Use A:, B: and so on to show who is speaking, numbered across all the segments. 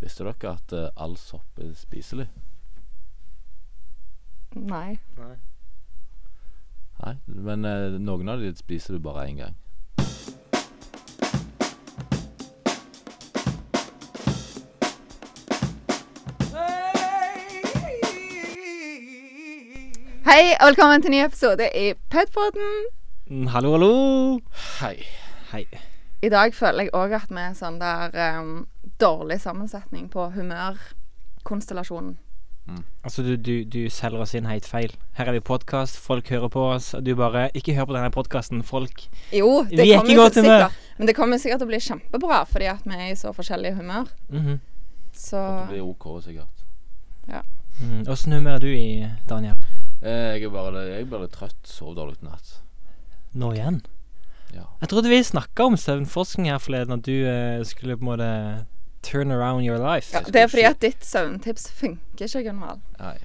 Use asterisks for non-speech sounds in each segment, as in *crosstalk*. A: Visste dere at eh, all sopp er spiselig?
B: Nei.
C: Nei.
A: Nei, men eh, noen av de spiser du bare én gang.
B: Hei, og velkommen til en ny episode i E Petpodden.
C: Mm, Hallo, hallo.
A: Hei.
C: Hei.
B: I dag føler jeg òg at vi er sånn der ehm, dårlig sammensetning på humørkonstellasjonen.
C: Altså, du, du, du selger oss inn helt feil. Her er vi podkast, folk hører på oss, og du bare Ikke hør på denne podkasten, folk.
B: Jo, det
C: Vi er ikke
B: kommer
C: i
B: jo
C: godt humør.
B: sikkert Men det kommer sikkert til å bli kjempebra fordi at vi er i så forskjellig humør.
C: Mhm.
B: Så
A: Det blir OK, sikkert.
C: Mm, Åssen humør er du i, Daniel?
A: Eh, Jeg er bare, jeg er bare trøtt. Sov dårlig i natt.
C: Nå igjen?
A: Ja.
C: Jeg trodde vi snakka om søvnforskning her forleden, at du eh, skulle på en måte turn around your life.
B: ja, Det er fordi at ditt søvntips funker ikke, Gunvald.
A: Nei.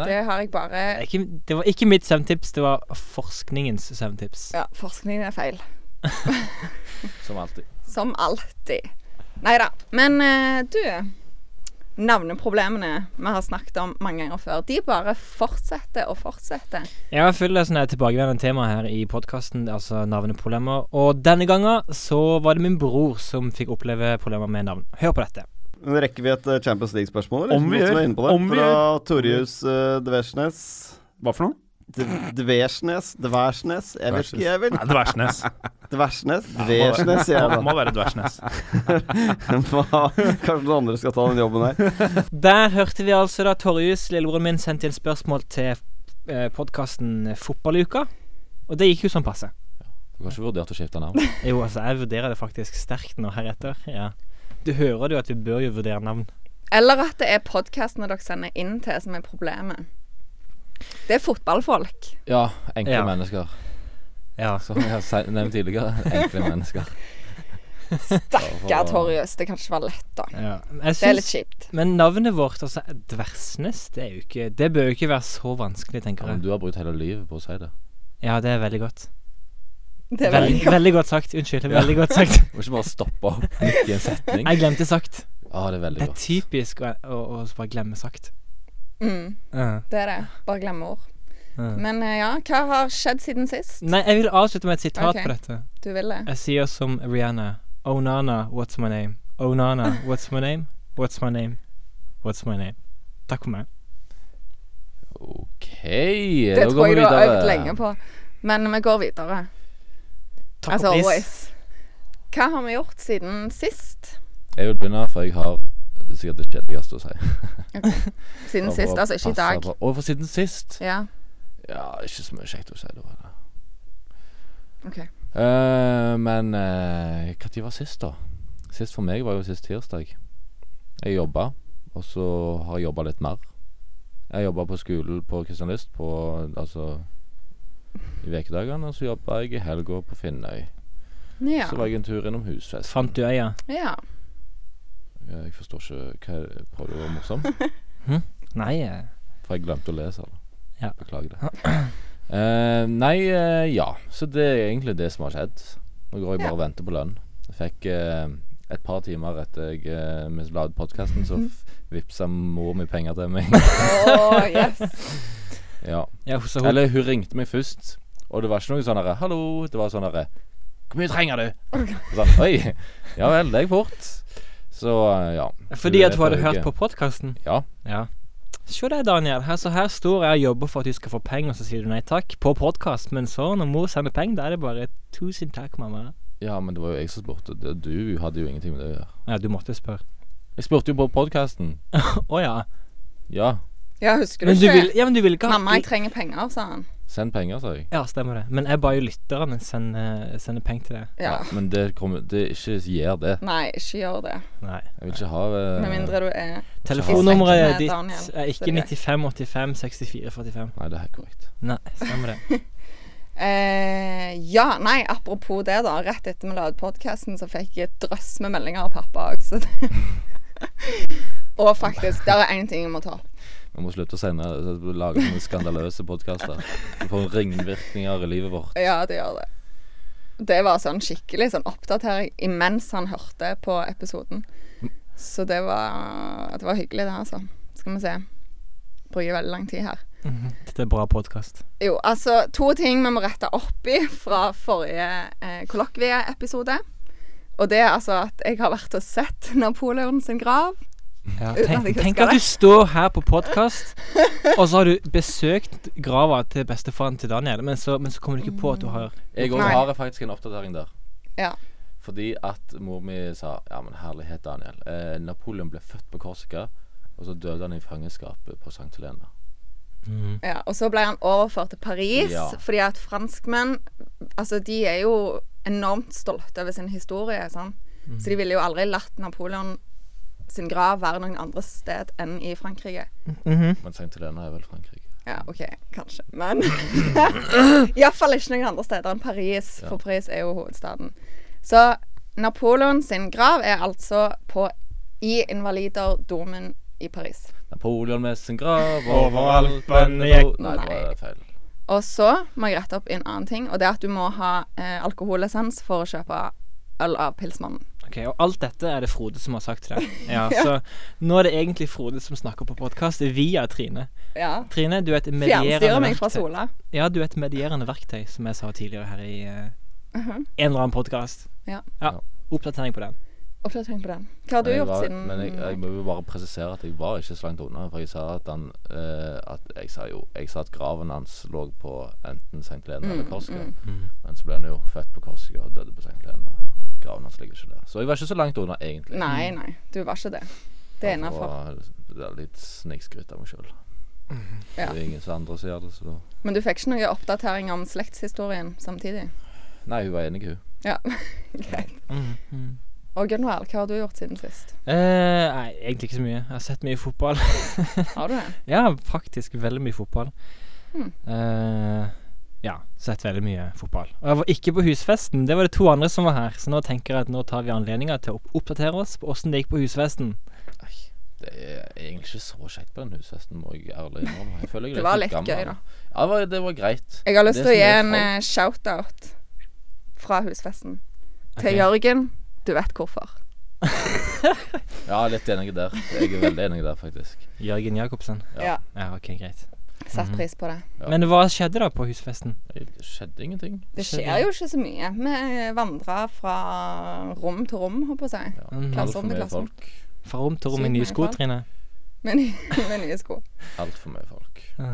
A: Nei.
B: Det har jeg bare
C: Det er Ikke, det var ikke mitt søvntips, det var forskningens søvntips.
B: Ja, forskningen er feil.
A: Som alltid.
B: Som alltid. Nei da. Men eh, du Navneproblemene vi har snakket om mange ganger før, de bare fortsetter og fortsetter.
C: Jeg har fulgt sånne tilbakevendende tema her i podkasten, altså navneproblemer. Og denne gangen så var det min bror som fikk oppleve problemer med navn. Hør på dette.
D: Men rekker vi et eh, Champions League-spørsmål? eller?
E: Om vi
D: Noen som
E: gjør.
D: er inne på det?
E: Om vi
D: Fra Torjus uh, Dversnes.
E: Hva for noe?
D: D- Dversnes? Dversnes? Jeg vet ikke, jeg vel.
E: Nei, Dversnes.
D: Dversnes?
E: må være-
D: Dversnes, sier
E: Må,
D: jeg da.
E: må være Dversnes.
D: *laughs* Hva- Kanskje noen andre skal ta den jobben her.
C: Der hørte vi altså da Torjus, lillebroren min, sendte inn spørsmål til eh, podkasten Fotballuka. Og det gikk jo sånn passe.
A: Du har ikke vurdert å skifte navn?
C: Jo, altså, jeg vurderer det faktisk sterkt nå heretter. Ja. Du hører jo at vi bør jo vurdere navn.
B: Eller at det er podkastene dere sender inn til som er problemet. Det er fotballfolk.
A: Ja. Enkle
C: Ja.
A: mennesker.
C: Ja.
A: Som jeg har se- nevnt tidligere. Enkle mennesker.
B: Stakkar Torjus, det kan ikke være lett, da.
C: ja. Jeg
B: Det er litt
C: syns
B: kjipt.
C: Men navnet vårt, altså Dversnes, det, er jo ikke, det bør jo ikke være så vanskelig, tenker
A: Men
C: jeg.
A: du har brukt hele livet på å si det.
C: Ja, det er veldig godt.
B: Det er
C: Veldig,
B: veldig godt.
C: veldig godt sagt. Unnskyld.
A: Ja.
C: Veldig godt
A: *laughs*
C: sagt.
A: Du må ikke bare stoppe opp midt i en setning.
C: Jeg glemte sagt.
A: Ja, det er veldig
C: Det er
A: godt.
C: typisk å, å, å bare glemme sagt.
B: Mm,
C: Ja,
B: det er det. Bare glemme ord.
C: ja.
B: Men eh, ja, hva har skjedd siden sist?
C: Nei, jeg vil avslutte med et sitat
B: Ok.
C: på dette.
B: Du ville?
C: Jeg sier som Rihanna. Oh nana, what's my name? Oh nana, what's my name? What's my name? What's my name? Takk for meg.
A: OK,
B: Det
A: da
B: tror
A: går vi
B: jeg du har øvd
A: videre.
B: lenge på. Men vi går videre.
C: Takk
B: As
C: for
B: Altså,
C: pris.
B: always. Hva har vi gjort siden sist?
A: Jeg vil begynne, for jeg har det er sikkert det kjedeligste å si.
B: Siden sist, altså ikke i dag.
A: Og for siden sist
B: Ja,
A: Ja, ikke så mye kjekt å si da. eller?
B: OK.
A: Eh, men eh, hva tid var sist, da? Sist for meg var jo sist tirsdag. Jeg jobba, og så har jeg jobba litt mer. Jeg jobba på skolen på Kristianlyst på altså i ukedagene, og så jobba jeg i helga på Finnøy.
B: Ja.
A: Så var jeg en tur innom husfest.
C: Fant du øya?
B: ja.
A: Ja, Jeg forstår ikke hva jeg prøvde å være morsom,
C: Nei. eh,
A: for jeg glemte å lese det.
C: Ja.
A: Beklager det. Eh, nei, eh, ja. Så det er egentlig det som har skjedd. Nå går jeg bare og venter på lønn. Jeg fikk eh, et par timer etter jeg eh, mens jeg la ut podkasten, så vippsa mor mi penger til meg.
B: Åh, yes.
A: ja.
C: Ja, så hun,
A: Eller hun ringte meg først, og det var ikke noe sånn herre 'Hallo'. Det var sånn herre 'Hvor mye trenger du?' Sånn, Oi. Ja vel, det gikk fort. Så eh, ja.
C: fordi at hun hadde
A: forrige
C: hørt på podkasten?
A: Ja.
C: Ja. Se der, Daniel. Her, så her står jeg og jobber for at du skal få penger, og så sier du nei takk på podkast. Men så, når mor sender penger, da er det bare 'tusen takk, mamma'.
A: Ja, men det var jo jeg som spurte. Det- Du hadde jo ingenting med det å gjøre.
C: Ja, du måtte spørre. *laughs*
A: Jeg spurte jo på podkasten.
C: Å ja.
A: Ja,
B: Ja, husker du
C: Men du
B: ikke?
C: vil, ja. Men du vil ikke ha
B: Mamma, jeg trenger penger, sa han.
A: send penger, sa jeg.
C: Ja, stemmer det. Men jeg ba jo lytterne sende, sende penger til deg.
B: Ja.
A: Nei, men det kommer Det ikke gjør det.
B: Nei, ikke gjør det.
C: Nei.
A: Jeg vil ikke ha eh,
B: Med mindre du er
C: Telefonnummeret
B: Med
C: ditt
B: Daniel,
C: er
B: så
C: ikke
B: det er greit.
C: 95856445.
A: Nei, det er helt korrekt.
C: Nei, stemmer det.
B: eh, Ja, nei, apropos det, da. Rett etter vi la ut podkasten, så fikk jeg et drøss med meldinger av pappa òg, så det *laughs* Og faktisk, der er én ting jeg må ta opp.
A: Vi må slutte å sende lage sånne skandaløse podkaster. Du får ringvirkninger i livet vårt.
B: Ja, det gjør det. Det var sånn skikkelig sånn oppdatering imens han hørte på episoden. Så det var, det var hyggelig, det, altså. Skal vi se. Bruker veldig lang tid her.
C: Dette er bra podkast.
B: Jo, altså to ting vi må rette opp i fra forrige eh, kollokvie-episode. Og det er altså at jeg har vært og sett Napoleon sin grav.
C: Ja,
B: Uten at
C: tenk,
B: jeg husker
C: tenk at du
B: det.
C: står her på podkast, og så har du besøkt grava til bestefaren til Daniel, men så, men så kommer du ikke på at du har
A: Jeg òg
B: Nei.
A: har faktisk en oppdatering der.
B: Ja.
A: Fordi at mor mi sa Ja, men herlighet, Daniel. Eh, Napoleon ble født på Korsika, og så døde han i fangenskapet på Sankt Helena.
C: Mhm.
B: Ja, og så ble han overført til Paris,
A: Ja.
B: fordi at franskmenn Altså, de er jo enormt stolte over sin historie, sant? så de
A: Mhm.
B: ville jo aldri latt Napoleon sin grav være noen andre sted enn i Frankrike.
C: Mhm.
A: Men Sankt Helena er vel Frankrike.
B: Ja, OK, kanskje, men *laughs* Iallfall ikke noen andre steder enn Paris, for
A: Ja.
B: Paris er jo hovedstaden. Så Napoleon sin grav er altså på i invaliderdomen i Paris.
A: Napoleon med sin grav
C: Overalt,
A: overalt men
C: men jeg-
A: Napo- Nei, det
B: Nei.
A: var feil.
B: Og så må jeg rette opp en annen ting, og det er at du må ha eh, alkohollisens for å kjøpe øl av Pilsmannen.
C: Ok, Og alt dette er det Frode som har sagt til deg.
B: *laughs*
C: Ja, Så nå er det egentlig Frode som snakker på podkast via Trine.
B: Ja.
C: Trine, du er et
B: Fjernstyre
C: medierende
B: meg fra
C: verktøy.
B: sola.
C: Ja, du er et medierende verktøy, som jeg sa tidligere her i eh,
B: Mhm.
C: en eller annen podkast.
B: Ja.
C: ja. Oppdatering på den.
B: Oppdatering på den. Hva har du
A: Men jeg
B: gjort
A: var,
B: siden
A: Men jeg, jeg må jo bare presisere at jeg var ikke så langt unna. For jeg sa at han eh, at Jeg sa jo Jeg sa at graven hans lå på enten St. Helena
B: Mm,
A: eller Korsika. Men så ble han jo født på Korsika og døde på St. Helena. Graven hans ligger ikke der. Så jeg var ikke så langt unna, egentlig.
B: Nei, nei, du var ikke det. Det er innafor.
A: Det er litt snikskryt av meg sjøl.
B: Ja.
A: Det er ingen som andre som gjør det, så
B: Men du fikk ikke noe oppdatering om slektshistorien samtidig?
A: Nei, hun var enig, hun.
B: Ja, *laughs* greit.
C: Mhm.
B: Og Gunvald, hva har du gjort siden sist?
C: Eh, nei, egentlig ikke så mye. Jeg har sett mye fotball. *laughs*
B: Har du det?
A: *laughs*
C: ja, faktisk veldig mye fotball.
B: Hmm.
C: Eh, ja, sett veldig mye fotball. Og jeg var ikke på husfesten. Det var det to andre som var her, så nå tenker jeg at nå tar vi anledninga til å opp- oppdatere oss på åssen det gikk på husfesten.
A: Nei, det er egentlig ikke så kjekt på den husfesten, må jeg ærlig innrømme. Jeg føler jeg er
B: Det var litt
A: litt gammel.
B: gøy, da.
A: Ja, det var, det var greit.
B: Jeg har lyst
A: Det
B: til
A: som
B: å gi
A: er
B: en
A: folk-
B: eh, shout-out fra husfesten til
C: Ok.
B: Jørgen. Du vet hvorfor.
A: Ja, litt enig der. Jeg er veldig enig der, faktisk.
C: Jørgen Jacobsen.
A: Ja.
B: Ja.
C: Ja, ok, greit.
B: Satt pris på det.
A: Ja.
C: Men hva skjedde da på husfesten?
A: Det skjedde ingenting.
B: Det skjer jo ikke så mye. Vi vandrer fra rom til rom, håper jeg på å si.
A: Ja.
C: Mhm.
A: Altfor
B: Klasserom til
A: mye
B: klasserom.
A: folk.
C: Fra rom til rom i
B: Sykt
C: nye
B: mye
C: sko,
B: folk.
C: Trine.
B: Med, ny, *laughs* med nye sko.
A: Altfor mye folk.
C: Ja.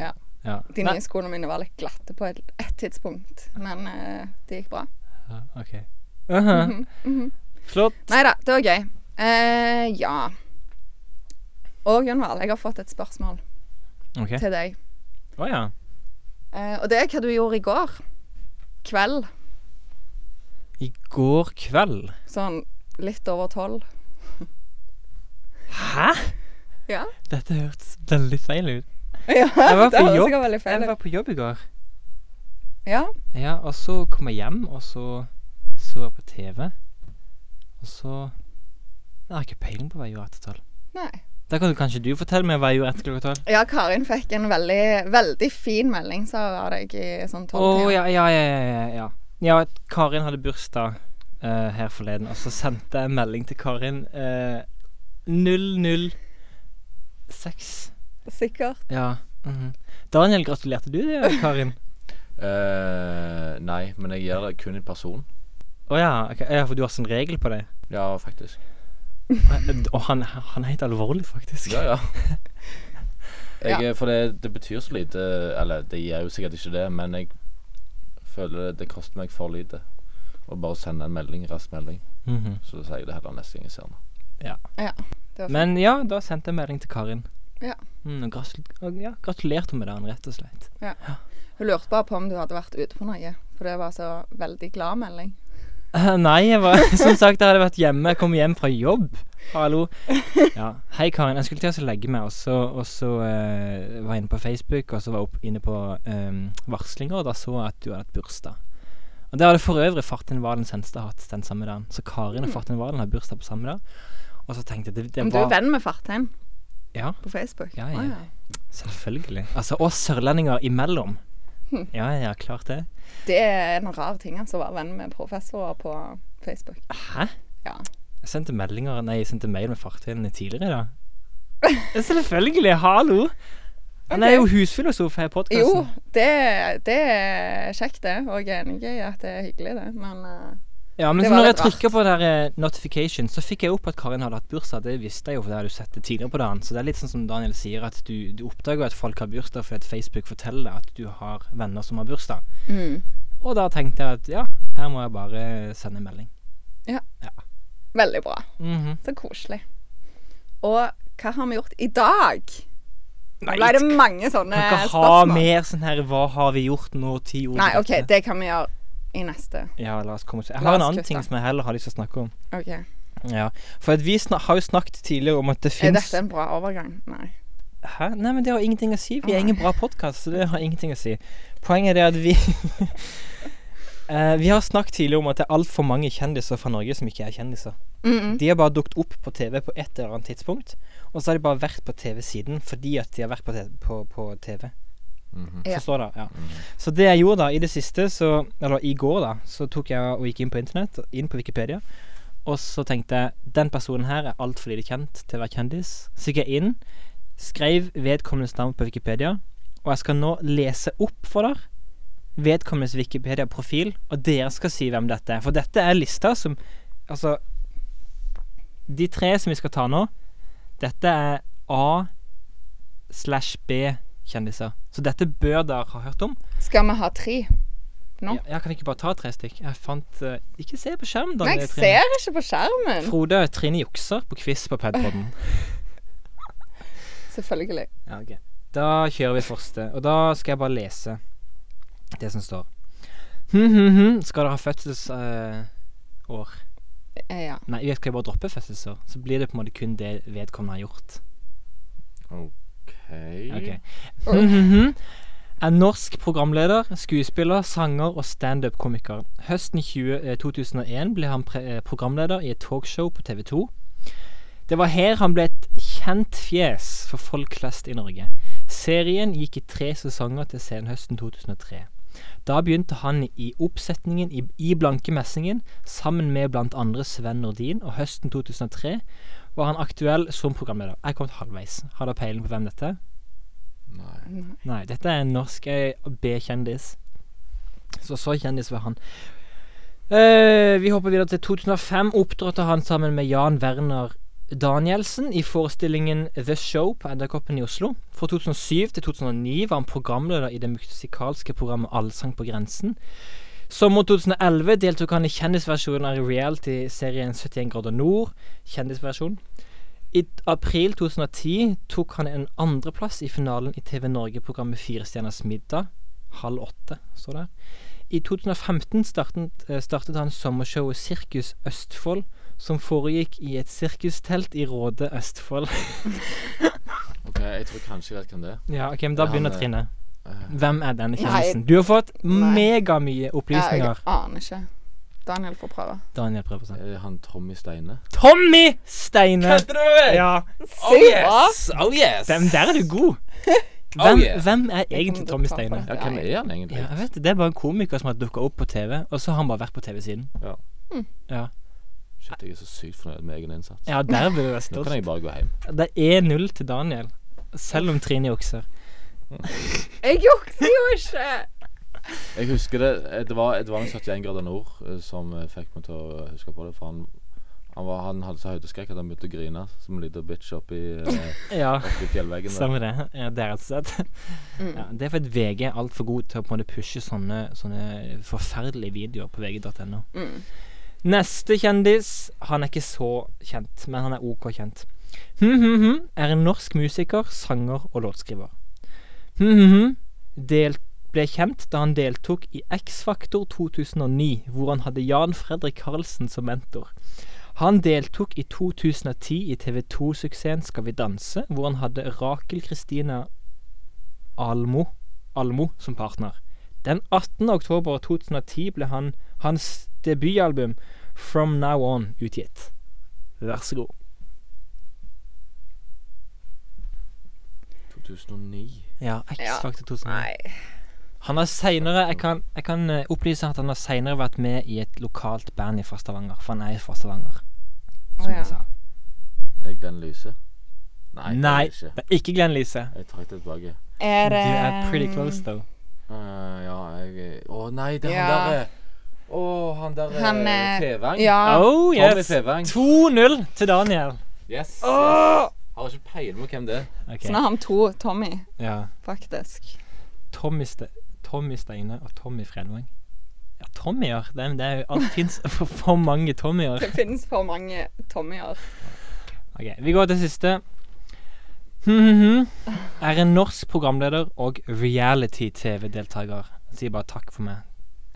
B: Ja.
C: ja.
B: De
C: Nei,
B: nye skoene mine var litt glatte på et, ett tidspunkt, men eh, det gikk bra.
C: Ja, OK.
B: Mhm,
C: Aha. Flott.
B: Nei da, det var gøy. Eh, ja. Og Gunvald, jeg har fått et spørsmål
C: OK.
B: til deg.
C: Å ja.
B: Eh, og det er hva du gjorde i går kveld.
C: I går kveld
B: Sånn litt over tolv. *laughs*
C: Hæ?
B: Ja.
C: Dette hørtes veldig feil ut.
B: ja
C: var på
B: det høres
C: jobb.
B: sikkert veldig feil
C: Jeg
B: ut.
C: var på jobb i går.
B: Ja.
C: Ja, og så kom jeg hjem, og så så jeg på TV. Og så Jeg har ikke peiling på hva jeg gjorde etter tolv.
B: Nei.
C: Da kan du kanskje du fortelle meg hva jeg gjorde etter klokka tolv.
B: Ja, Karin fikk en veldig, veldig fin melding sa hun av deg i sånn
C: Å
B: tolv
C: ja, ja, ja, ja, ja. Ja, Karin hadde bursdag eh, her forleden, og så sendte jeg en melding til Karin eh, 006.
B: Sikkert.
C: Ja. mhm. Daniel, gratulerte du,
B: *laughs*
C: Karin?
A: Eh, nei, men jeg gjør det kun i person.
C: Å ja, ok. ja, for du har sånn regel på det?
A: Ja, faktisk.
C: Og han, han er helt alvorlig, faktisk.
A: Ja, ja. Jeg,
B: Ja.
A: er- For det, det betyr så lite Eller det gjør jo sikkert ikke det, men jeg føler det, det koster meg for lite å bare sende en melding, rask melding.
C: Mhm.
A: Så da sier jeg det heller neste gang jeg ser den.
B: Det var fint.
C: Men ja, da sendte jeg melding til Karin.
B: Ja.
C: Mm, og gratul og ja, gratulerte med dagen, rett og slett.
B: Hun lurte bare på om du hadde vært ute på noe, for det var så veldig glad melding.
C: Eh, Nei, jeg var, *laughs* som sagt, jeg hadde vært hjemme. Jeg kom hjem fra jobb.
B: *laughs*
C: Hallo. Ja. Hei, Karin. Jeg skulle til å legge meg, og så, og så eh, var jeg inne på Facebook, og så var jeg opp, inne på eh, varslinger, og da så jeg at du hadde hatt bursdag. Og det hadde for øvrig Fartin Valen Senstad hatt den samme dagen. Så Karin og Fartin Valen har bursdag på samme dag. Og så tenkte jeg det, det
B: Mm. Men du er
C: var
B: venn med Fartheim
C: Ja.
B: på Facebook?
C: Ja, ja.
B: Å,
C: Selvfølgelig. Altså, og sørlendinger imellom.
B: Hm.
C: Ja, ja, klart det.
B: Det er en rar ting, altså, å være venn med professorer på Facebook.
C: Hæ?
B: Ja.
C: Jeg sendte meldinger Nei, jeg sendte mail med fartøyene tidligere i dag.
B: *laughs*
C: Ja, Selvfølgelig! Hallo! Han
B: Ok.
C: er jo husfilosof her
B: Jo,
C: i podkasten.
B: det, det er kjekt, det. Og jeg er enig i at det er hyggelig, det. Men eh,
C: Ja, men
B: det
C: så
B: var
C: når jeg
B: litt
C: trykker på der eh, notification, så fikk jeg opp at Karin hadde hatt bursdag. Det visste jeg jo, for det hadde du sett det tidligere på dagen. Så det er litt sånn som Daniel sier, at du, du oppdager at folk har bursdag fordi at Facebook forteller deg at du har venner som har bursdag.
B: mm.
C: Og da tenkte jeg at ja, her må jeg bare sende en melding.
B: veldig bra.
C: Mhm.
B: Så koselig. Og hva har vi gjort i dag? Nå
C: Nei,
B: ble det mange sånne
C: kan ikke ha
B: Eh, spørsmål.
C: mer sånn her 'hva har vi gjort nå?' ti ord.
B: Nei,
C: på
B: OK,
C: dette.
B: det kan vi gjøre i neste.
C: Ja, la oss komme til Jeg
B: La
C: har en
B: oss
C: annen
B: kutte.
C: ting som jeg heller har lyst til å snakke om.
B: Ok,
C: Ja, For at vi sna har jo snakket tidligere om at det
B: Er
C: fins
B: dette en bra overgang? Nei.
C: Hæ? Nei, men det har ingenting å si. Vi er ingen bra podkast, så det har ingenting å si. Poenget er det at vi *laughs* Eh, Vi har snakket tidligere om at det er altfor mange kjendiser fra Norge som ikke er kjendiser.
B: Mm
C: De har bare dukket opp på TV på et eller annet tidspunkt, og så har de bare vært på TV siden fordi at de har vært på, te- på, på TV.
A: Mhm.
B: Ja.
C: Forstår det, ja. Så det jeg gjorde da, i det siste, så Eller i går, da, så tok jeg og gikk inn på internett, inn på Wikipedia, og så tenkte jeg den personen her er altfor lite kjent til å være kjendis. Så gikk jeg inn, skrev vedkommendes navn på Wikipedia, og jeg skal nå lese opp for dere vedkommendes Wikipedia-profil, og dere skal si hvem dette er. For dette er lista som Altså De tre som vi skal ta nå, dette er A slash B-kjendiser. Så dette bør dere ha hørt om.
B: Skal vi ha tre? Nå?
C: Ja, jeg kan ikke bare ta tre stykk. Jeg fant eh, Ikke se på skjermen,
B: Nei,
C: Daniel.
B: jeg
C: Trine.
B: ser ikke på skjermen.
C: Frode Trine jukser på quiz på Padpodden.
B: *laughs* Selvfølgelig.
C: Ja, ok. Da kjører vi første, og da skal jeg bare lese det som står. Hm, hm, hm. Skal dere ha fødselsår?
B: Eh, Ja.
C: Nei, jeg skal jeg bare droppe fødselsår, så blir det på en måte kun det vedkommende har gjort. Ok. Hm, hm, hm. Er norsk programleder, skuespiller, sanger og standup-komiker. Høsten 20, eh, 2001 ble han pre eh, programleder i et talkshow på TV 2. Det var her han ble et kjent fjes for folk flest i Norge. Serien gikk i tre sesonger til senhøsten 2003. Da begynte han i oppsetningen i, i Blanke messingen, sammen med bl.a. Sven Nordin, og høsten 2003 var han aktuell som programleder. Jeg kom halvveis. Har dere peiling på hvem dette er?
A: Nei.
C: Nei, dette er en norsk eh, B-kjendis. Så så kjendis var han. Eh, vi hopper videre til 2005. Opptrådte han sammen med Jan Werner Danielsen i forestillingen The Show på Edderkoppen i Oslo. Fra 2007 til 2009 var han programleder i det musikalske programmet Allsang på grensen. Sommeren 2011 deltok han i kjendisversjonen av reality-serien 71 grader nord. Kjendisversjon. I t- april 2010 tok han en andreplass i finalen i TV Norge-programmet Fire stjerners middag. Halv åtte, står det. I 2015 startet, eh, startet han sommershowet Sirkus Østfold, som foregikk i et sirkustelt i Råde Østfold. *laughs*
A: Ok, jeg tror kanskje jeg vet hvem det er.
C: ja, ok, men Da
A: Ja,
C: begynner
A: men-
C: Trine.
A: Eh,
C: Hvem er denne
B: Nei.
C: kjendisen? Du har fått
B: Nei.
C: megamye
B: Ja, jeg
C: opplysninger.
B: aner ikke. Daniel får prøve.
C: Daniel prøver seg.
A: Er det han Tommy Steine?
C: Tommy Steine!
A: du med
C: Ja,
B: Se bra!
A: Oh yes!
C: den der er du god.
A: *laughs* Oh,
C: Hvem,
A: yeah.
C: hvem er
B: kommer
C: egentlig
B: til å
C: Tommy
B: ta på
C: Steine?
B: det.
A: Ja, hvem er han egentlig?
C: Ja, jeg vet det. Det er bare en komiker som har dukka opp på TV, og så har han bare vært på TV siden.
A: Ja.
B: Mm.
C: Ja.
A: Shit, jeg er så sykt fornøyd med egen innsats.
C: ja, der ble du vært
A: Nå kan
C: stolt.
A: jeg bare gå hjem.
C: Det er 1-0 til Daniel, selv om Trine jukser.
B: Jeg jukser jo ikke!
A: Jeg husker det eh, Det var, det var en 71 grader nord eh, som eh, fikk meg til å huske på det. For han, han, var, han hadde så høydeskrekk at han begynte å grine som en liten bitch oppi, eh,
C: Ja,
A: oppi fjellveggen. der.
C: stemmer det. Ja, det er rett og slett.
B: Mm.
C: Ja, det er fordi VG er altfor god til å på en måte pushe sånne, sånne forferdelige videoer på vg.no.
B: Mm.
C: Neste kjendis Han er ikke så kjent, men han er OK kjent. Hm, hm, hm, er en norsk musiker, sanger og låtskriver. Hm, hm, hm, del, ble kjent da han deltok i X-Faktor 2009, hvor han hadde Jan Fredrik Karlsen som mentor. Han deltok i 2010 i TV2-suksessen Skal vi danse, hvor han hadde Rakel Kristina Almo, Almo som partner. Den 18. oktober 2010 ble han, hans debutalbum From Now On utgitt. Vær så god.
A: 2009.
C: Ja,
B: Ja.
C: X-Factor 2009.
B: Nei.
C: Han har senere, jeg kan, jeg kan eh, opplyse at han har senere vært med i et lokalt band i Stavanger, for han er fra Stavanger.
B: Å,
C: som
B: ja.
C: jeg sa.
A: Er jeg Glenn Lyse? Nei. det
C: Nei.
A: er jeg Ikke.
C: Det er ikke Glenn Lise.
A: Jeg trakk det tilbake.
B: Er
C: Du
B: det
C: er pretty close, though.
A: Eh, ja, jeg Å nei, det er han
B: Ja.
A: derre Å, han derre
B: Han, eh,
A: Fevang.
B: Ja.
C: Oh,
A: Tommy
C: yes.
A: Fevang.
C: 2-0 til Daniel.
A: Yes.
C: Åh!
A: yes. Har ikke peiling på hvem det er.
C: Ok,
B: Så nå har vi to Tommy,
C: ja.
B: faktisk.
C: Tommy, Ste Tommy Steine og Tommy Fredvang. Ja, Tommyer. Det, er- det er jo alt fins *laughs* for, for mange Tommyer.
B: Det finnes for mange Tommyer.
C: Ok, Vi går til siste. *laughs* Mhm. Er en norsk programleder og reality-TV-deltaker. Sier bare takk for meg.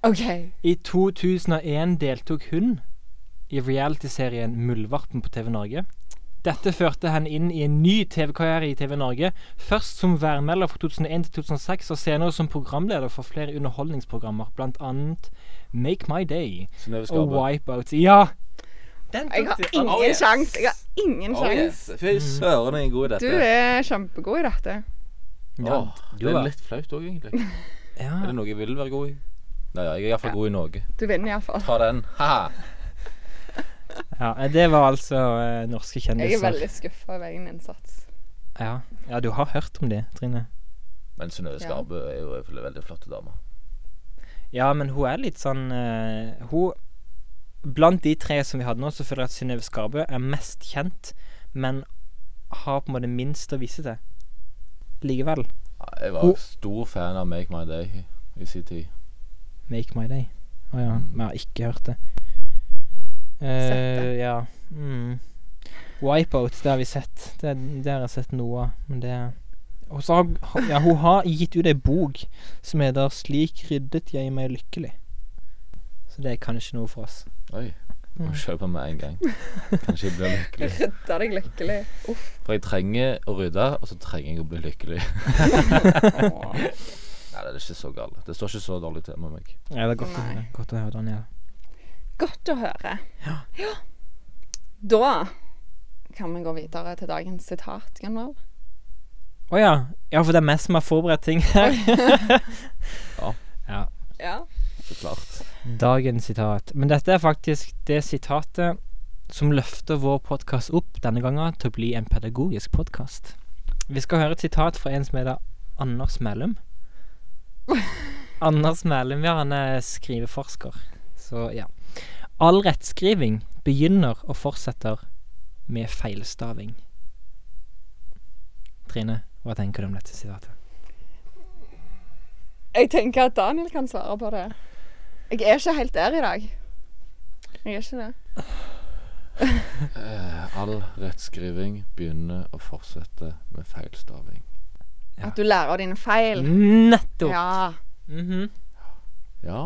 B: OK.
C: I 2001 deltok hun i realityserien Muldvarpen på TV Norge. Dette førte henne inn i en ny TV-karriere i TV Norge, først som værmelder fra 2001 til 2006, og senere som programleder for flere underholdningsprogrammer, bl.a. Make My Day
A: Synnøve
C: og
A: Skarbø.
C: Wipeout. Ja! Den
B: Jeg har
C: du.
A: Oh,
B: ingen
A: yes.
B: sjans. Jeg har ingen
A: Oh,
B: sjans.
A: yes. Fy søren, jeg er god i
B: Du
A: dette.
B: er kjempegod i dette.
C: Ja,
A: Åh,
C: du
A: det er
C: var-
A: litt flaut òg, egentlig. Er
C: ja.
A: det noe jeg vil være god i? Nei, ja, jeg er iallfall god i noe.
B: Du vinner iallfall.
A: Ta den. *laughs* Ha-ha.
C: ja, det var altså eh, norske
B: Jeg er
C: kjendiser.
B: veldig skuffa over egen innsats.
C: Ja. ja, du har hørt om det, Trine.
A: Men Synnøve
B: Ja.
A: Skarbø er jo en veldig flott dame.
C: Ja, men hun er litt sånn eh, Hun Blant de tre som vi hadde nå, så føler jeg at Synnøve Skarbø er mest kjent, men har på en måte minst å vise til. Likevel.
A: Jeg var
C: Hun-
A: stor fan av Make My Day i- i sin tid.
C: Make my day. Å ja. Vi har ikke hørt det. Eh,
B: Mm. Sett det.
C: ja. Mm. Wipeout, det har vi sett. Det, det har jeg sett noe av, men det Og så har ha- ja, hun har gitt ut ei bok som heter 'Slik ryddet jeg meg lykkelig'. Så det er kanskje noe for oss.
A: Oi. Må
C: Mm.
A: kjøpe med en gang. Kanskje jeg blir
B: Du
A: lykkelig.
B: rydda deg lykkelig.
C: *laughs*
B: Uff.
A: For jeg trenger å rydde, og så trenger jeg å bli lykkelig.
B: Åh.
A: Nei, det er ikke så galt. Det står ikke så dårlig til med meg.
C: Ja, det er godt, å
B: Nei.
C: høre. godt å høre, Daniel.
B: Godt å høre. Ja. Da kan vi gå videre til dagens sitat, Gunvald.
C: Å ja. ja, for det er meg som har forberedt ting her.
B: Ja.
A: Så klart.
C: Dagens sitat. Men dette er faktisk det sitatet som løfter vår podkast opp denne gangen til å bli en pedagogisk podkast. Vi skal høre et sitat fra en som heter Anders Mælum. Anders Mælum, ja, han er skriveforsker. Så ja. All rettskriving begynner og fortsetter med feilstaving. Trine, hva tenker du om dette sitatet?
B: Jeg tenker at Daniel kan svare på det. Jeg er ikke helt der i dag. Jeg er ikke det.
A: Eh, all rettskriving begynner å fortsette med feilstaving.
C: Ja. Mm.
B: At du lærer av dine feil.
C: Nettopp!
B: Ja.
C: Mhm.
A: Ja,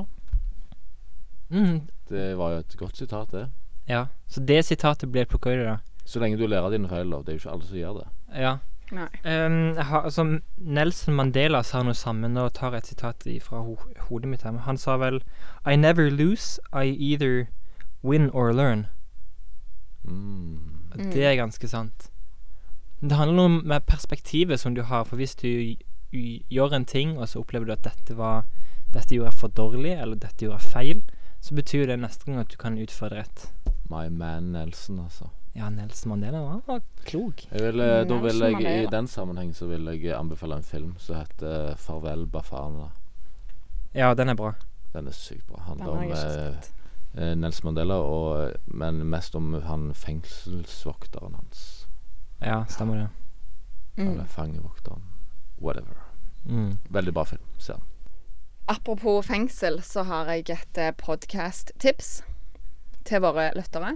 C: mm,
A: det var jo et godt sitat, det.
C: Ja, så det sitatet blir plukka ut, da.
A: Så lenge du lærer av dine feil, da. Det er jo ikke alle som gjør det.
C: Ja.
B: Nei.
C: Ehm, jeg har, altså, Nelson Mandela sa noe sammen, og tar et sitat fra ho hodet mitt her. men Han sa vel I never lose, I either win or learn.
A: Mm.
C: Det er ganske sant. Det handler noe om med perspektivet som du har, for hvis du gj- gjør en ting, og så opplever du at dette var Dette gjorde jeg for dårlig, eller dette gjorde jeg feil, så betyr det neste gang at du kan utføre det rett.
A: My man Nelson, altså.
C: Ja, Nelson Mandela var, var klok.
A: Jeg vil, eh, da
B: Nelson
A: vil jeg, I
B: Mandela.
A: den sammenheng så vil jeg anbefale en film som heter eh, 'Farvel, Bafana'.
C: Ja, den er bra.
A: Den er sykt bra.
B: Den
A: Handler
B: har jeg
A: om
B: ikke
A: eh,
B: sett.
A: eh, Nelson Mandela, og, eh, men mest om han fengselsvokteren hans.
C: Ja, stemmer det.
B: Mm.
A: Eller fangevokteren. Whatever.
C: Mm.
A: Veldig bra film. Se den.
B: Apropos fengsel, så har jeg et eh, podcast-tips til våre lyttere.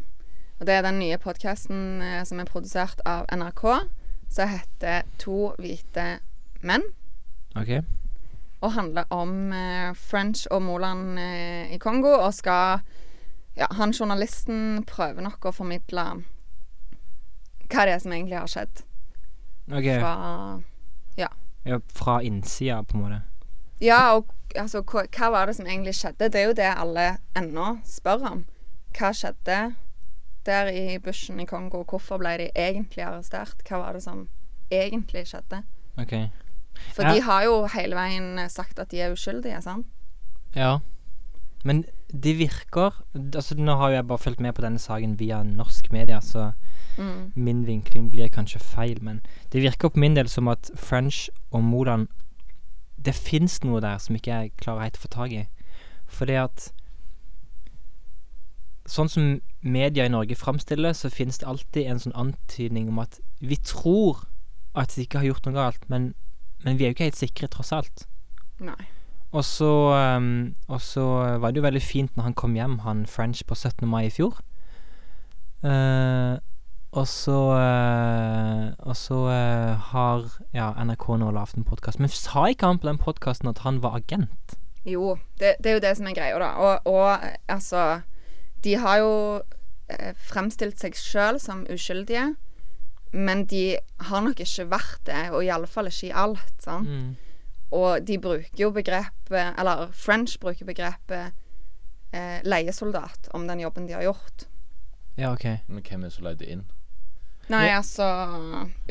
B: Og det er den nye podcasten eh, som er produsert av NRK, som heter To hvite menn,
C: OK.
B: og handler om eh, French og Moland eh, i Kongo, og skal Ja, han journalisten prøver nok å formidle hva det er som egentlig har skjedd
C: Ok.
B: fra
C: Ja, fra innsida, på en måte.
B: Ja, og altså, hva, hva var det som egentlig skjedde? Det er jo det alle ennå spør om. Hva skjedde der i bushen i Kongo? Hvorfor ble de egentlig arrestert? Hva var det som egentlig skjedde?
C: Ok.
B: For
C: Ja.
B: eh, de har jo hele veien sagt at de er uskyldige, sant?
C: Ja. Men det virker altså Nå har jo jeg bare fulgt med på denne saken via norsk media, så
B: Mm.
C: min vinkling blir kanskje feil, men det virker på min del som at French og Moland Det fins noe der som ikke jeg klarer helt å få tak i. Fordi at Sånn som media i Norge framstiller, så fins det alltid en sånn antydning om at vi tror at de ikke har gjort noe galt, men, men vi er jo ikke helt sikre, tross alt.
B: Nei.
C: Og så, ehm, og så var det jo veldig fint når han kom hjem, han French, på 17. mai i fjor. Eh, og så eh, Og så eh, har ja, NRK nå lagd en podkast. Men sa ikke han på den podkasten at han var agent?
B: Jo, det, det er jo det som er greia, da. Og, og eh, altså De har jo eh, fremstilt seg sjøl som uskyldige, men de har nok ikke vært det, og iallfall ikke i alt. sant? Og de bruker jo begrepet Eller French bruker begrepet eh, leiesoldat om den jobben de har gjort.
C: Ja, OK.
A: Men hvem er det som leide inn?
B: Nei,
C: Ja.
B: altså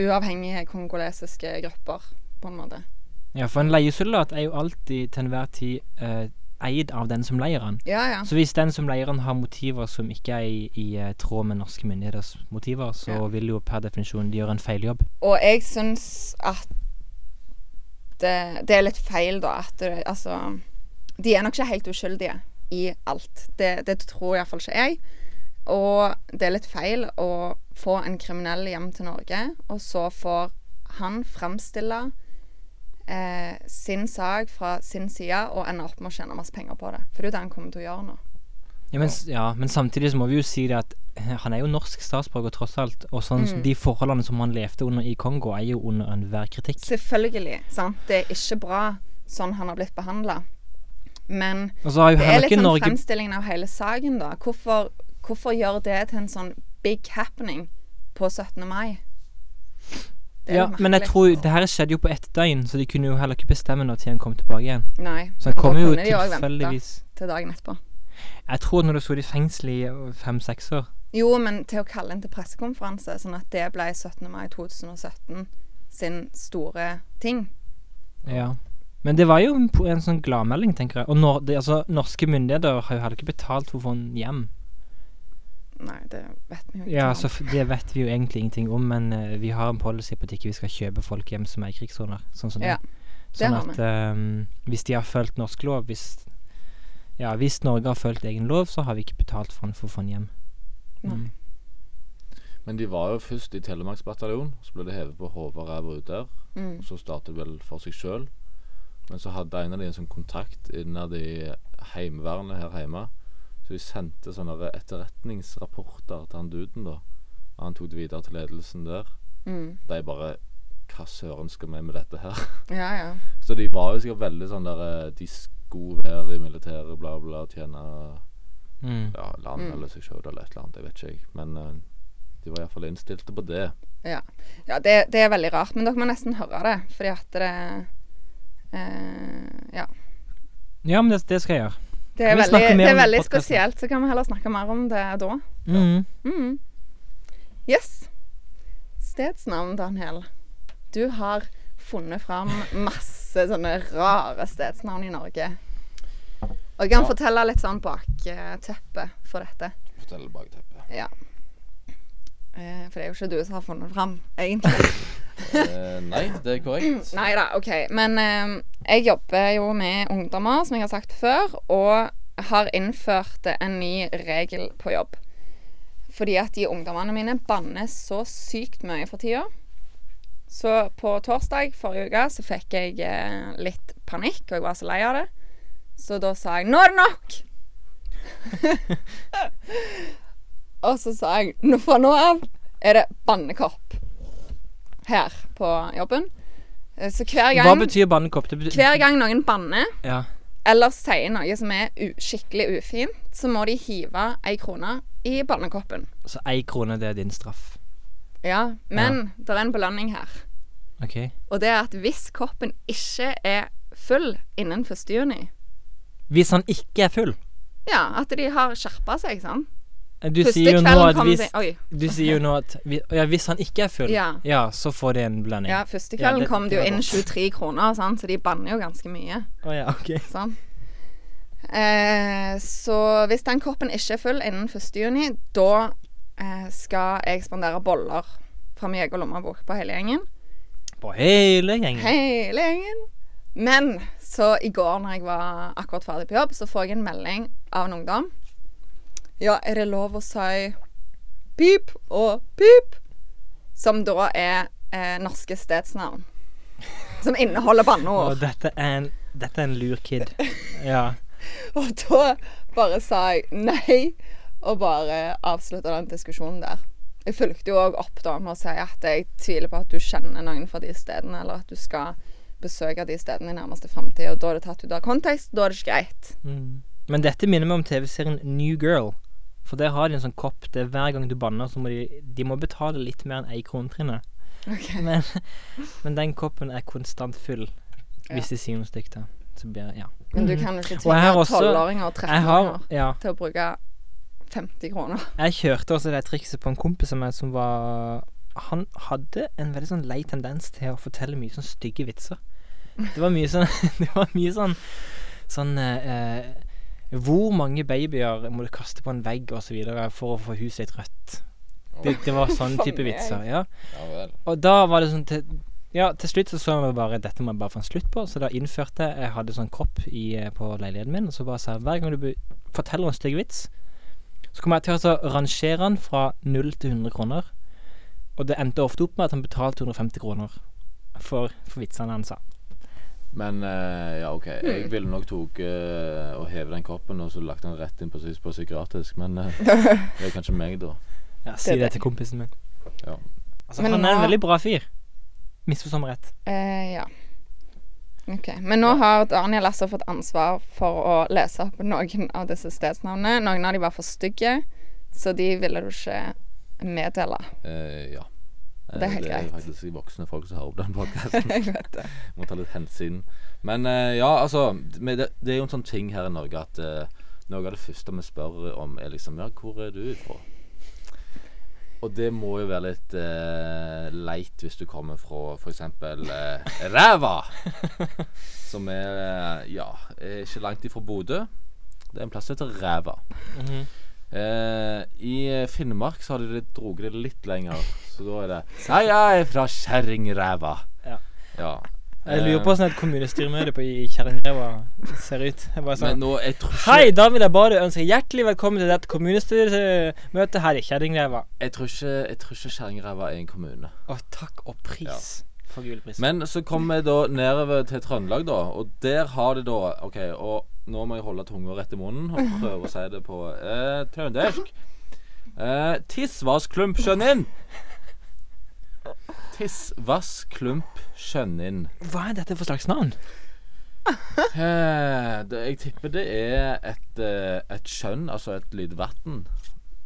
B: Uavhengige kongolesiske grupper, på en måte.
C: Ja, for en leiesoldat er jo alltid til enhver tid eh, eid av den som leier han.
B: Ja, ja.
C: Så hvis den som leier han har motiver som ikke er i, i eh, tråd med norske myndigheters motiver, så
B: Ja.
C: vil jo per definisjon de gjøre en feiljobb.
B: Og jeg syns at det, det er litt feil, da. At det, altså De er nok ikke helt uskyldige i alt. Det, det tror iallfall ikke jeg. Og det er litt feil å få en kriminell hjem til Norge, og så får han framstille eh, sin sak fra sin side og ender opp med å tjene masse penger på det. For det er jo det han kommer til å gjøre nå.
C: Ja men, s- ja, men samtidig så må vi jo si det at eh, han er jo norsk statsborger tross alt, og sånn,
B: Mm.
C: de forholdene som han levde under i Kongo, er jo under enhver kritikk.
B: Selvfølgelig. sant? Det er ikke bra sånn han har blitt behandla. Men
C: Og så har jo
B: Det er
C: heller
B: litt
C: ikke
B: sånn
C: Norge
B: fremstillingen av hele saken, da. Hvorfor, hvorfor gjør det til en sånn big happening på 17. mai? Det er
C: ja,
B: litt
C: Men jeg
B: merkelig.
C: tror det her skjedde jo på ett døgn, så de kunne jo heller ikke bestemme når tid han kom tilbake igjen.
B: Nei.
C: Så han
B: da
C: kom jo
B: kunne de også vente
C: tilfeldigvis
B: Til dagen etterpå.
C: Jeg tror når du sto i fengsel i øh, fem-seks år
B: Jo, men til å kalle inn til pressekonferanse, sånn at det ble 17. mai 2017 sin store ting.
C: Ja. Men det var jo en, po- en sånn gladmelding, tenker jeg. Og nor det, altså, norske myndigheter har jo heller ikke betalt for å få han hjem.
B: Nei, det vet vi jo ikke.
C: Ja,
B: om.
C: så f Det vet vi jo egentlig ingenting om, men eh, vi har en policy på at ikke vi skal kjøpe folk hjem som er i krigssoner. Sånn som
B: Ja,
C: det.
B: det
C: Sånn
B: har
C: at eh, hvis de har fulgt norsk lov hvis, ja, hvis Norge har fulgt egen lov, så har vi ikke betalt for han for å få han hjem.
B: Nei.
C: Mm.
A: Men de var jo først i Telemarksbataljonen. Så ble det hevet på hodet og ræva ut der.
B: Mm.
A: Og så startet det vel for seg sjøl. Men så hadde en av de en sånn kontakt innad i Heimevernet her hjemme. Så de sendte sånne re- etterretningsrapporter til han duden, da. Og han tok det videre til ledelsen der.
B: Mm.
A: De bare Hva søren skal vi med dette her? *laughs*
B: Ja, ja.
A: Så de var jo sikkert veldig sånn der eh, De skulle være i militæret, bla, bla, tjene
C: Mm.
A: ja, land
B: Mm.
A: eller seg sjøl eller et eller annet, jeg vet ikke, jeg. Men eh, de var iallfall innstilte på det.
B: Ja, det, det er veldig rart, men dere må nesten høre det, fordi at det eh, Ja.
C: Ja, men det, det skal jeg gjøre.
B: Det er
C: Kan vi
B: veldig,
C: snakke mer
B: det er
C: om
B: veldig
C: podcasten?
B: spesielt, så kan vi heller snakke mer om det da.
C: Mm.
B: Mm. Yes. Stedsnavn, Daniel. Du har funnet fram masse sånne rare stedsnavn i Norge. Og jeg kan
A: Ja.
B: fortelle litt sånn bakteppet for dette.
A: Fortell bak
B: *laughs*
A: teppet.
B: Eh, For det er jo ikke du som har funnet fram, egentlig.
A: Eh, nei, det er
B: *clears throat*
A: korrekt.
B: Nei da, OK. Men eh, jeg jobber jo med ungdommer, som jeg har sagt før, og har innført en ny regel på jobb. Fordi at de ungdommene mine banner så sykt mye for tida. Så på torsdag forrige uke så fikk jeg eh, litt panikk, og jeg var så lei av det. Så da sa jeg 'Nå er det nok!'
C: *laughs*
B: og så sa jeg «Nå- 'Fra nå av er det bannekopp her på jobben'. Eh, Så hver
C: Hva
B: gang,
C: betyr bannekopp? Det betyr
B: hver gang noen banner
C: ja.
B: eller sier noe som er u skikkelig ufint, så må de hive ei krone i bannekoppen.
C: Så ei krone, det er din straff.
B: Ja, men det er en belønning her.
C: OK?
B: Og det er at hvis koppen ikke er full innen 1. juni
C: Hvis han ikke er full
B: Ja, at de har skjerpa seg, sant?
C: Du sier jo nå
B: kvelden
C: at
B: kommer
C: hvis
B: de- Oi.
C: Du sier jo nå at vi, ja, hvis han ikke er full,
B: Ja.
C: så får det en blanding.
B: Ja, første kvelden
C: det-
B: kom det
C: det
B: jo
C: var
B: inn
C: godt.
B: 23 kroner, sant? så de banner jo ganske mye.
C: Å ja, ok.
B: Sant? sånn. Eh, så hvis den koppen ikke er full innen 1. juni, da eh, skal jeg spandere boller fra min egen lommebok på hele gjengen.
C: På hele gjengen.
B: Hele gjengen. Men så i går når jeg var akkurat ferdig på jobb, så får jeg en melding av en ungdom. Ja, er det lov å si pip og pip? Som da er eh, norske stedsnavn. Som inneholder
C: Og
B: banneord.
C: dette er en, dette er en lur kid. Ja.
B: *laughs* Og da bare sa jeg nei, og bare avslutta den diskusjonen der. Jeg fulgte jo òg opp da med å si at jeg tviler på at du kjenner noen fra de stedene, eller at du skal besøke de stedene i nærmeste framtid, og da er det tatt ut av kontekst, da er det ikke greit.
C: Mm. Men dette minner meg om TV-serien New Girl. For der har de en sånn kopp der hver gang du banner, så må de, de må betale litt mer enn ei krone trinnet. *laughs* Men, men den koppen er konstant full. Hvis de sier noe stygt, da. Så blir det Ja.
B: Men du kan jo ikke
C: Mhm. Og jeg har
B: tvinge
C: også-
B: tolvåringer og
C: Jeg har
B: 13-åringer
C: Ja.
B: til å bruke 50 kroner.
C: Jeg kjørte også det trikset på en kompis av meg som var Han hadde en veldig sånn lei tendens til å fortelle mye sånn stygge vitser. Det var mye sånn *laughs* Det var mye sånn Sånn eh, eh, Hvor mange babyer må du kaste på en vegg og så videre for å få huset ditt rødt? Det, det var sånn
B: For
C: type
B: meg.
C: vitser. Ja.
A: Ja vel.
C: Og da var det sånn til, Ja, til slutt så så vi bare Dette må jeg bare få en slutt på. Så da innførte jeg Jeg hadde sånn kopp i, eh, på leiligheten min, og så bare sa jeg, hver gang du be- forteller en stygg vits, så kommer jeg til å så rangere den fra 0 til 100 kroner. Og det endte ofte opp med at han betalte 150 kroner for, for vitsene han sa.
A: Men eh, ja, OK. Jeg
B: Mm.
A: ville nok tok eh, og heve den koppen og så lagt den rett inn på, sys- på psykiatrisk, men
B: *laughs*
A: eh, det er kanskje meg, da.
C: Ja,
B: Det
C: si
B: er
C: det
B: det.
C: til kompisen min.
A: Ja.
C: Altså,
B: Men
C: han er en
B: nå-
C: veldig bra fyr. Misforstå meg rett.
B: Eh, ja. Ok, Men nå har Daniel altså fått ansvar for å lese opp noen av disse stedsnavnene. Noen av de var for stygge, så de ville du ikke meddele. *laughs*
A: Eh, ja. Eh,
B: Det er helt
A: det er
B: greit.
A: faktisk voksne folk som hører på den podkasten.
B: Jeg vet det.
A: Må ta litt hensyn. Men eh, ja, altså men det, det er jo en sånn ting her i Norge at eh, noe av det første vi spør om, er liksom Ja, hvor er du fra? Og det må jo være litt eh, leit hvis du kommer fra f.eks. Uh, ræva! Som er eh, ja, er ikke langt ifra Bodø. Det er en plass som heter Ræva. Mhm. Eh, I Finnmark så har de dratt det litt lenger, så da er det Nei, jeg er fra Kjerringræva.
C: Ja.
A: ja.
C: Jeg lurer
A: Eh.
C: på hvordan et kommunestyremøte på i Kjerringreva ser ut. Jeg bare
A: Men
C: sånn
A: nå, jeg tror, ikke,
C: Hei, da vil jeg bare ønske hjertelig velkommen til dette kommunestyremøtet her i Kjerringreva.
A: jeg tror ikke, jeg tror ikke Kjerringræva er en kommune.
C: Og takk og pris for gul pris.
A: Men så kommer vi da nedover til Trøndelag, da, og der har de da OK, og nå må jeg holde tunga rett i munnen og prøve å si det på eh, trøndersk. Eh, Tissvassklump skjønnin. Tissvassklump skjønnin.
C: Hva er dette for slags navn?
A: Eh, det, jeg tipper det er et, eh, et skjønn, altså et lite vann.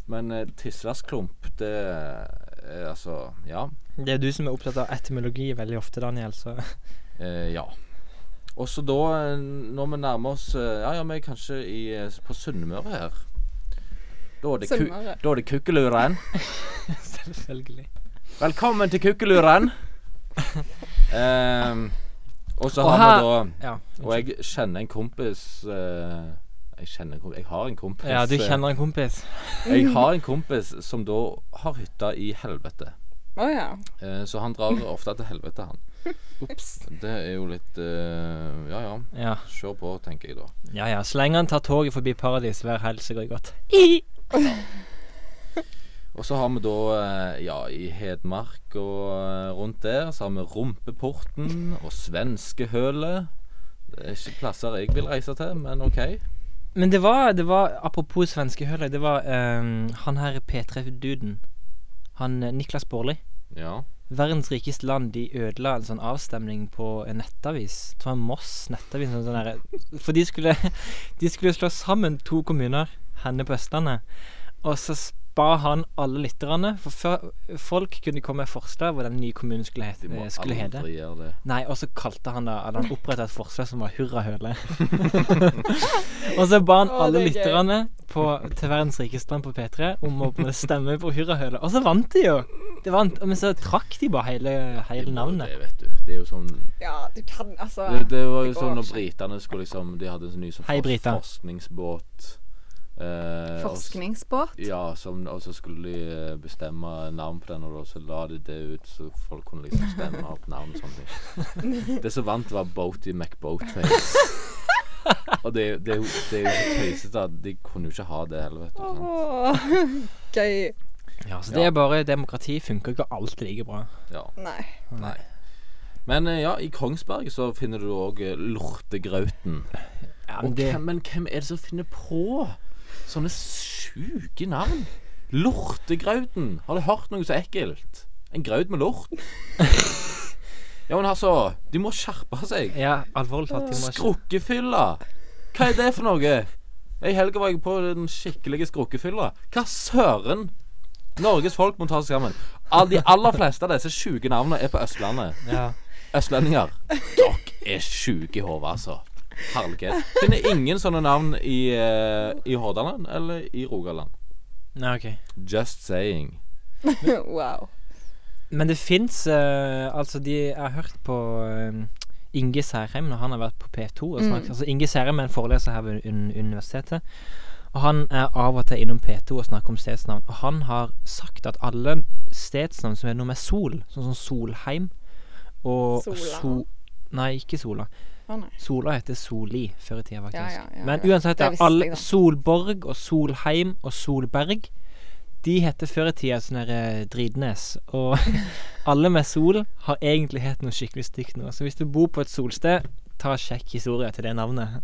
A: Men eh, tissvassklump, det er altså Ja.
C: Det er du som er opptatt av etymologi veldig ofte, Daniel, så *laughs*
A: Eh, ja. Og så da, eh, når vi nærmer oss eh, Ja, ja, vi er kanskje i, eh, på Sunnmøre her. Da er det, ku,
B: Sunnmøre.
A: da er det Kukkeluren.
C: Selvfølgelig.
A: Velkommen til
C: *laughs*
A: Kukkeluren! Ehm, og så
C: Og
A: har
C: her-
A: vi da
C: Ja.
A: Og jeg kjenner en kompis eh, Jeg kjenner en kompis Jeg har en kompis.
C: ja, du
A: eh,
C: kjenner en kompis.
A: Jeg har en kompis som da har hytta i helvete.
B: Å ja.
A: Eh, så han drar ofte til helvete,
C: *laughs*
A: han. Ops. Det er jo litt eh, Ja ja,
C: Ja,
A: se på, tenker jeg da.
C: ja. ja. Så lenge han tar toget forbi paradis hver helg, så går det godt.
A: Og så har vi da, eh, ja, i Hedmark og eh, rundt der, så har vi Rumpeporten og Svenskehølet. Det er ikke plasser jeg vil reise til, men OK.
C: Men det var, det var apropos svenskehølet, det var ehm, han her P3-duden. Han eh, Niklas Baarli.
A: Ja.
C: Verdens rikeste land de ødela en sånn avstemning på en nettavis. Det var Moss nettavis. en Sånn derre- for de skulle, *laughs* de skulle slå sammen to kommuner, henne på Østlandet. Og så spa han alle lytterne. For før, folk kunne komme med forslag hvor den nye kommunen skulle,
A: De må
C: hete, Eh, skulle hete.
A: aldri gjøre det.
C: Nei, og så kalte han da
B: *laughs*
C: Eller han oppretta et forslag som var hurrahøle. og så ba han
B: Å,
C: alle
B: det er gøy.
C: lytterne på, til verdens rikeste land på P3 om å på en måte stemme på hurrahøle, og så vant de jo! Det var en, men så trakk de bare hele, hele navnet.
A: Det vet du. Det er jo sånn
B: Ja, du kan altså
A: Det, det var jo
B: går
A: sånn når
B: ikke.
A: britene skulle liksom De hadde en sånn ny sånn
C: Hei,
A: fors-
C: Brita.
A: forskningsbåt. eh, og s-
B: Forskningsbåt.
A: Ja, som, og så skulle de eh, bestemme navn på den, og da så la de det ut, så folk kunne liksom stemme opp navn og sånne ting. Det som vant, var Boaty McBoatface. Og det, det, er jo- det er jo så tøysete at de kunne jo ikke ha det heller, vet du. sant?
B: Åh, *laughs* Gøy.
C: Ja, så
A: Ja.
C: det er bare Demokrati funker ikke alltid like bra.
A: Ja.
B: Nei. *laughs*
A: Nei. Men eh, ja, i Kongsberg så finner du òg lortegrauten.
C: Ja,
A: Og
C: men det,
A: hvem, men hvem er det som finner på sånne sjuke navn? Lortegrauten. Har du hørt noe så ekkelt? En graut med lort? ja, men altså De må skjerpe seg.
C: ja, alvorlig talt de må ikke-
A: Skrukkefylla. Hva er det for noe? I helga var jeg på den skikkelige skrukkefylla. Hva søren? Norges folk må ta seg sammen. All, de aller fleste av disse sjuke navnene er på Østlandet.
C: ja.
A: Østlendinger, dere er sjuke i hodet, altså. Herlighet. Finner ingen sånne navn i, eh, i Hordaland eller i Rogaland.
C: Nei, ok.
A: Just saying.
B: Wow.
C: Men det fins Altså, de Jeg har hørt på eh, Inge Særheim når han har vært på P2 og snakket. Altså, Inge Særheim er en foreleser her ved un universitetet. Og han er av og til innom P2 og snakker om stedsnavn. Og han har sagt at alle stedsnavn som er noe med sol, sånn som Solheim og
B: Sola.
C: So- Nei, ikke Sola.
B: Å nei.
C: Sola heter Soli før i tida, faktisk.
B: Ja, ja, ja,
C: Men
B: ja.
C: uansett,
B: Det
C: ja,
B: visste jeg,
C: alle
B: da.
C: Solborg og Solheim og Solberg De heter før i tida sånn der eh, Dridnes. Og *laughs* alle med sol har egentlig hett noe skikkelig stygt nå. Så hvis du bor på et solsted, ta og sjekk historia til det navnet.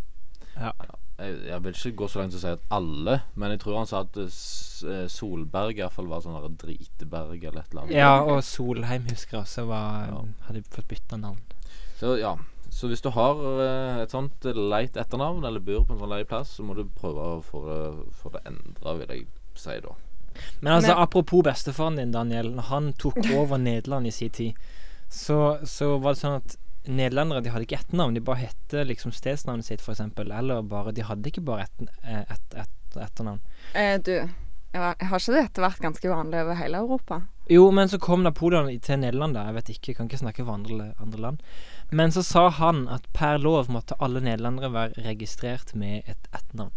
A: Jeg, jeg vil ikke gå så langt som å si at alle, men jeg tror han sa at eh, S- eh, Solberg i hvert fall var sånn der driteberg eller et eller annet.
C: Ja, og Solheim husker jeg også var
A: Ja.
C: Hadde fått bytta navn.
A: Så, ja. så hvis du har eh, et sånt leit etternavn, eller bor på en sånn lei plass, så må du prøve å få det, få det endra, vil jeg si da.
C: Men altså,
B: Men-
C: apropos bestefaren din, Daniel. Når han tok over Nederland i sin tid, så, så var det sånn at nederlendere de hadde ikke etternavn. De bare hette liksom stedsnavnet sitt, f.eks. Eller bare De hadde ikke bare ett et, ett- etternavn.
B: Eh, du, jeg var- har ikke dette vært ganske uvanlig over hele Europa?
C: Jo, men så kom Napoleon i- til Nederland, da. Jeg vet ikke, jeg kan ikke snakke for andre, andre land. Men så sa han at per lov måtte alle nederlendere være registrert med et etternavn.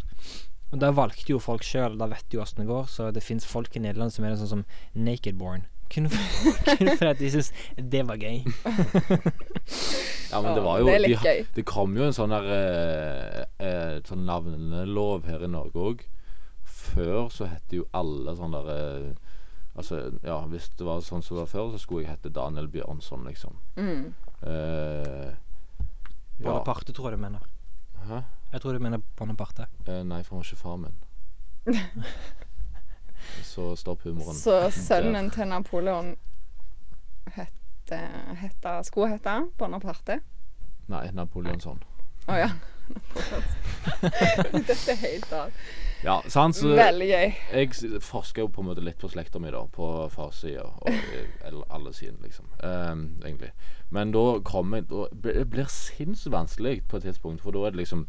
C: Og da valgte jo folk sjøl, da vet de jo åssen det går, så det fins folk i Nederland som er litt sånn som nakedborn. Kun for- *laughs* kun fordi at de syns det var gøy.
A: Ja, men det
B: Åh,
A: var jo
B: det er
A: de
B: litt
A: ha-
B: gøy.
A: Det kom jo en sånn der eh, eh, Sånn navnelov her i Norge òg. Før så het jo alle sånn der eh, Altså, ja, hvis det var sånn som det var før, så skulle jeg hete Daniel Bjørnson, liksom.
B: Mm.
A: Eh, ja.
C: Bonaparte, tror jeg du mener.
A: Hæ?
C: Jeg tror du mener Bonaparte.
A: Eh, nei, for han var ikke far min.
B: *laughs*
A: så stopp humoren.
C: *laughs*
B: Så sønnen til Napoleon hette, hette, skulle hete Bonaparte.
A: Nei, Napoleonsson.
B: Å
C: *laughs*
B: ja. Napoleon. dette er helt av.
A: Ja, sant, så
B: Veldig gøy.
A: jeg s- forsker jo på en måte litt på slekta mi, da. På farssida. og- Eller alle sidene, liksom. Ehm, egentlig. Men da kommer jeg da, Det blir sinnssykt vanskelig på et tidspunkt, for da er det liksom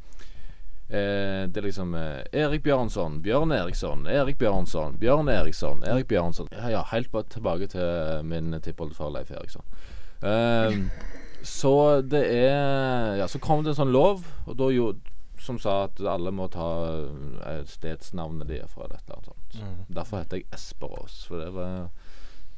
A: eh, det er liksom eh, Erik Bjørnson, Bjørn Eriksson, Erik Bjørnson, Bjørn Eriksson, Erik Bjørnson. Ja, ja, helt bare tilbake til min tippoldefar Leif Eriksson. Ehm, så det er Ja, så kom det en sånn lov, og da jo som sa at alle må ta eh, stedsnavnet de er fra, eller et eller annet sånt.
C: Mm.
A: Derfor heter jeg Esperås, for det var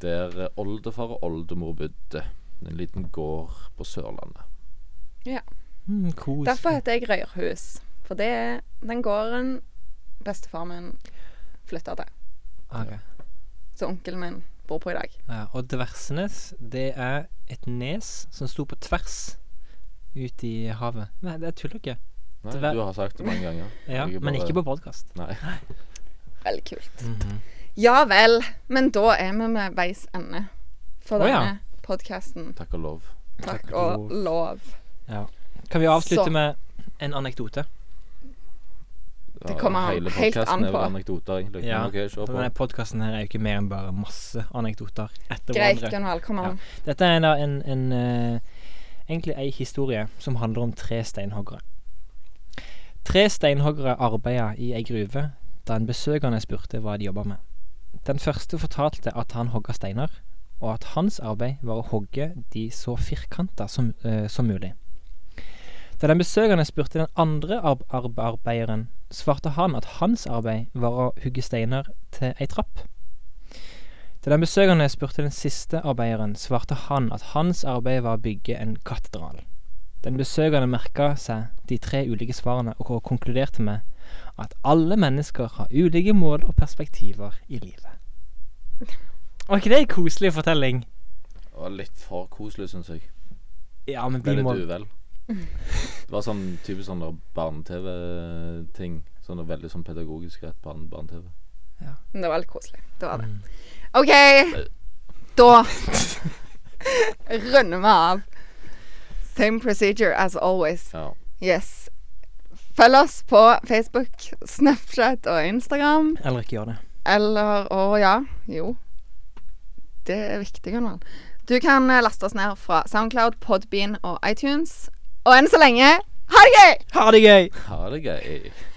A: der oldefar og oldemor bodde. En liten gård på Sørlandet.
C: Mm, kos.
B: Derfor heter jeg Røyrhus. For det er den gården bestefar min flytta til.
C: Ok.
B: Så onkelen min bor på i dag.
C: Ja, og Dversenes, det er et nes som sto på tvers ut i havet. Nei, det tuller ikke.
A: Nei,
C: Det var-
A: du har sagt det mange ganger.
C: Ja,
A: Jeg er
C: men
A: bare- Mhm.
C: ikke på podkast.
A: Nei.
B: Veldig kult. Ja vel. Men da er vi med veis ende for
C: Å, ja.
B: denne podkasten.
A: Takk og lov.
B: Takk
C: Takk
B: og
C: og
B: lov.
C: Kan vi avslutte
B: Så.
C: med en anekdote?
A: Ja,
B: kommer an-
A: hele
B: helt
A: podcasten
B: an
A: er vel
B: på.
A: Anekdoter, egentlig.
C: Ja,
A: Men ok, se
C: For
A: på.
C: denne podkasten her er jo ikke mer enn bare masse anekdoter etter
B: Greit,
C: hverandre.
B: Gunvald. Kom an.
C: Dette er da en, en eh, egentlig ei historie som handler om tre steinhoggere. Tre steinhoggere arbeida i ei gruve da en besøkende spurte hva de jobba med. Den første fortalte at han hogga steiner, og at hans arbeid var å hogge de så firkanta som, eh, som mulig. Da den besøkende spurte den andre arb arb arbeideren, svarte han at hans arbeid var å hugge steiner til ei trapp. Da den besøkende spurte den siste arbeideren, svarte han at hans arbeid var å bygge en katedral. Den besøkende merka seg de tre ulike svarene og og konkluderte med at alle mennesker har ulike mål og perspektiver i livet. Var ikke det en koselig fortelling?
A: Det var litt for koselig, syns jeg.
C: Ja, men
A: Ble
C: vi må
A: litt uvel. Det var sånn typisk sånn der barne-TV-ting. Sånn der veldig sånn pedagogisk rett barne- barne-TV.
B: Men det var litt koselig. Det var det.
C: Mm.
B: OK, da runder vi av. Same procedure as always.
A: Ja.
B: Yes. Følg oss på Facebook, Snapchat og Instagram.
C: Eller ikke gjør det.
B: Eller Å ja. Jo. Det er viktig, Gunvald. Du kan eh, laste oss ned fra Soundcloud, Podbean og iTunes. Og enn så lenge ha det gøy!
C: Ha det gøy!
A: Ha det gøy.